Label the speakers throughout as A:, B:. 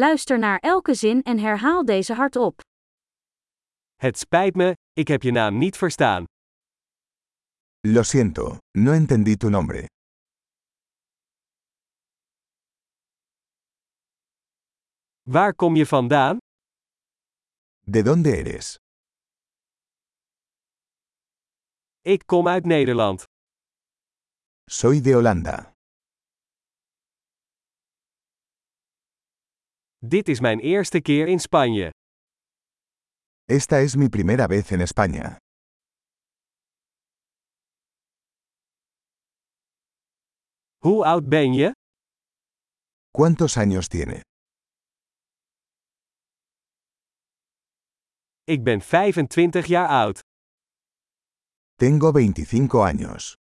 A: Luister naar elke zin en herhaal deze hardop.
B: Het spijt me, ik heb je naam niet verstaan.
C: Lo siento, no entendí tu nombre.
B: Waar kom je vandaan?
C: ¿De dónde eres?
B: Ik kom uit Nederland.
C: Soy de Holanda.
B: Dit is mijn eerste keer in Spanje.
C: Esta es mi primera vez en España.
B: Hoe oud ben je?
C: ¿Cuántos años tiene?
B: Ik ben 25 jaar oud.
C: Tengo 25 años.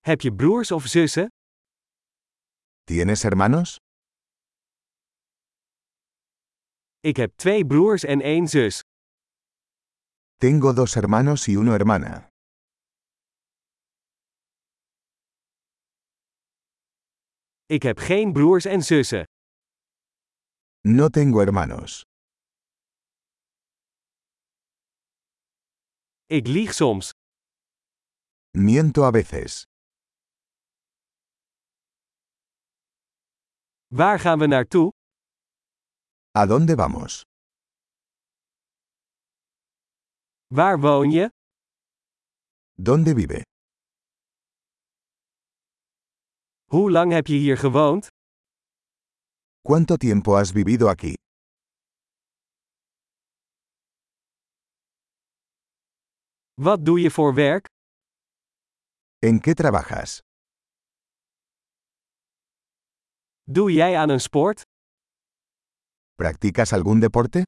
B: Heb je broers of zussen?
C: ¿Tienes hermanos?
B: Ik heb twee broers en één zus.
C: Tengo dos hermanos y una hermana.
B: Ik heb geen broers en zussen.
C: No tengo hermanos.
B: Ik lieg soms.
C: Miento a veces.
B: Waar gaan we naartoe?
C: ¿A dónde vamos?
B: Waar woon je?
C: ¿Dónde vive?
B: Hoe lang heb je hier gewoond?
C: ¿Cuánto tiempo has vivido aquí?
B: Wat doe je voor werk?
C: ¿En qué trabajas?
B: Doe jij aan een sport?
C: ¿Practicas algún deporte?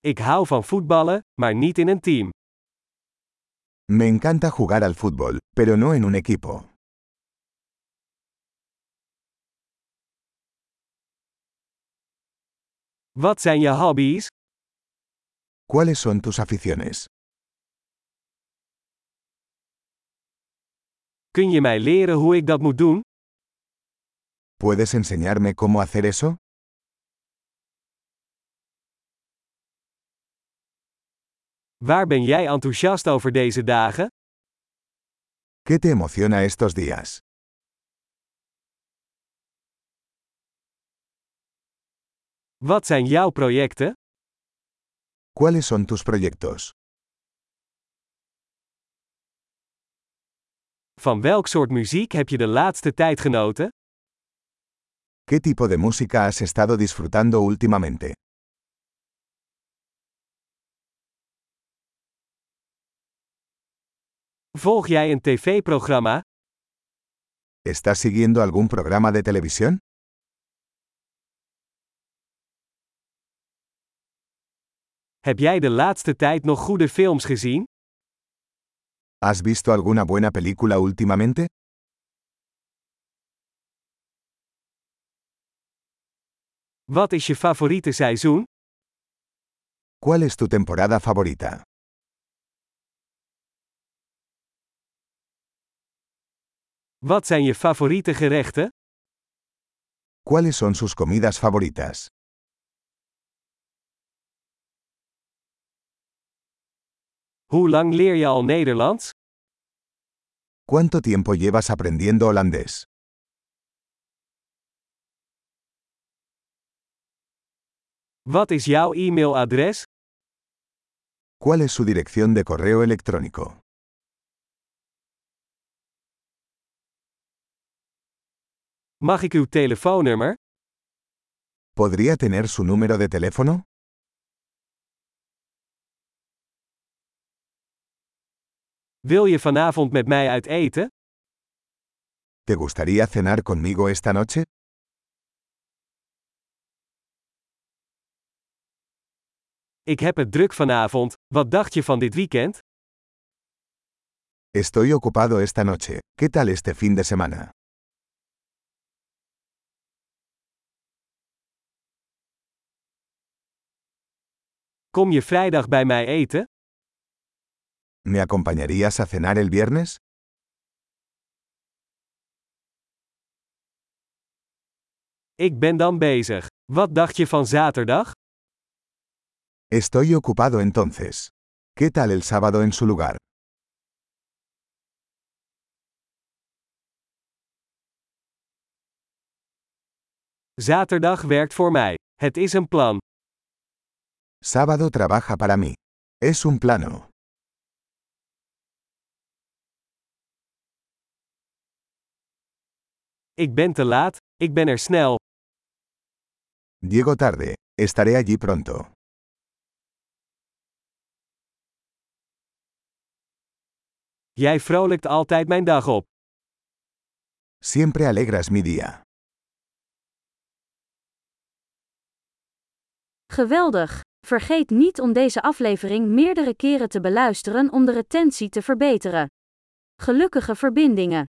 B: Ik hou van voetballen, maar niet in een team.
C: Me encanta jugar al fútbol, pero no en un equipo.
B: Wat zijn je hobby's?
C: ¿Cuáles son tus aficiones?
B: Kun je mij leren hoe ik dat moet doen?
C: ¿Puedes enseñarme cómo hacer eso?
B: Waar ben jij enthousiast over deze dagen?
C: ¿Qué te emociona estos días?
B: Wat zijn jouw projecten?
C: ¿Cuáles son tus proyectos?
B: Van welk soort muziek heb je de laatste tijd genoten?
C: ¿Qué tipo de música has estado disfrutando últimamente?
B: Volg jij een tv-programma?
C: ¿Estás siguiendo algún programa de televisión?
B: Heb jij de laatste tijd nog goede films gezien?
C: ¿Has visto alguna buena película últimamente?
B: Wat is je favoriete seizoen?
C: ¿Cuál es tu temporada favorita?
B: Wat zijn je favoriete gerechten?
C: ¿Cuáles son sus comidas favoritas?
B: Hoe lang leer je al Nederlands?
C: ¿Cuánto tiempo llevas aprendiendo holandés?
B: Wat is jouw e-mailadres?
C: ¿Cuál es su dirección de correo electrónico?
B: Mag ik uw telefoonnummer?
C: ¿Podría tener su número de teléfono?
B: Wil je vanavond met mij uit eten?
C: ¿Te gustaría cenar conmigo esta noche?
B: Ik heb het druk vanavond. Wat dacht je van dit weekend?
C: Estoy ocupado esta noche. ¿Qué tal este fin de semana?
B: Kom je vrijdag bij mij eten?
C: ¿Me acompañarías a cenar el viernes?
B: Ik ben dan bezig. Wat dacht je van zaterdag?
C: Estoy ocupado entonces. ¿Qué tal el sábado en su lugar?
B: Zaterdag werkt voor mij. Het is een plan.
C: Sábado trabaja para mí. Es un plano.
B: Ik ben te laat, ik ben er snel.
C: Llego tarde. Estaré allí pronto.
B: Jij vrolijkt altijd mijn dag op.
C: Siempre alegras mi día.
A: Geweldig! Vergeet niet om deze aflevering meerdere keren te beluisteren om de retentie te verbeteren. Gelukkige verbindingen!